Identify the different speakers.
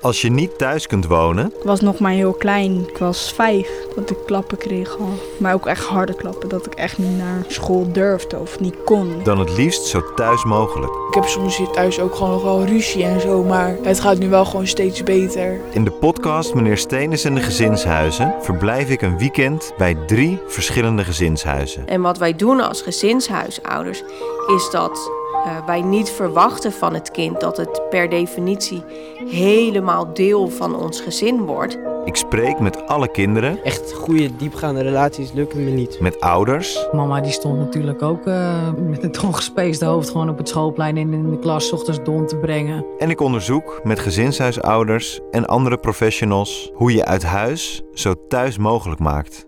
Speaker 1: Als je niet thuis kunt wonen,
Speaker 2: Ik was nog maar heel klein. Ik was vijf dat ik klappen kreeg al. Maar ook echt harde klappen. Dat ik echt niet naar school durfde of niet kon.
Speaker 1: dan het liefst zo thuis mogelijk.
Speaker 3: Ik heb soms hier thuis ook gewoon nog wel ruzie en zo, maar het gaat nu wel gewoon steeds beter.
Speaker 1: In de podcast Meneer Stenis en de Gezinshuizen verblijf ik een weekend bij drie verschillende gezinshuizen.
Speaker 4: En wat wij doen als gezinshuisouders is dat eh, wij niet verwachten van het kind dat het per definitie helemaal deel van ons gezin wordt.
Speaker 1: Ik spreek met alle kinderen,
Speaker 5: Echt goede, diepgaande relaties lukken me niet.
Speaker 1: met ouders,
Speaker 6: Mama die stond natuurlijk ook eh, met een tonggespeesde hoofd gewoon op het schoolplein en in de klas 's ochtends don te brengen.
Speaker 1: En ik onderzoek met gezinshuisouders en andere professionals hoe je uit huis zo thuis mogelijk maakt.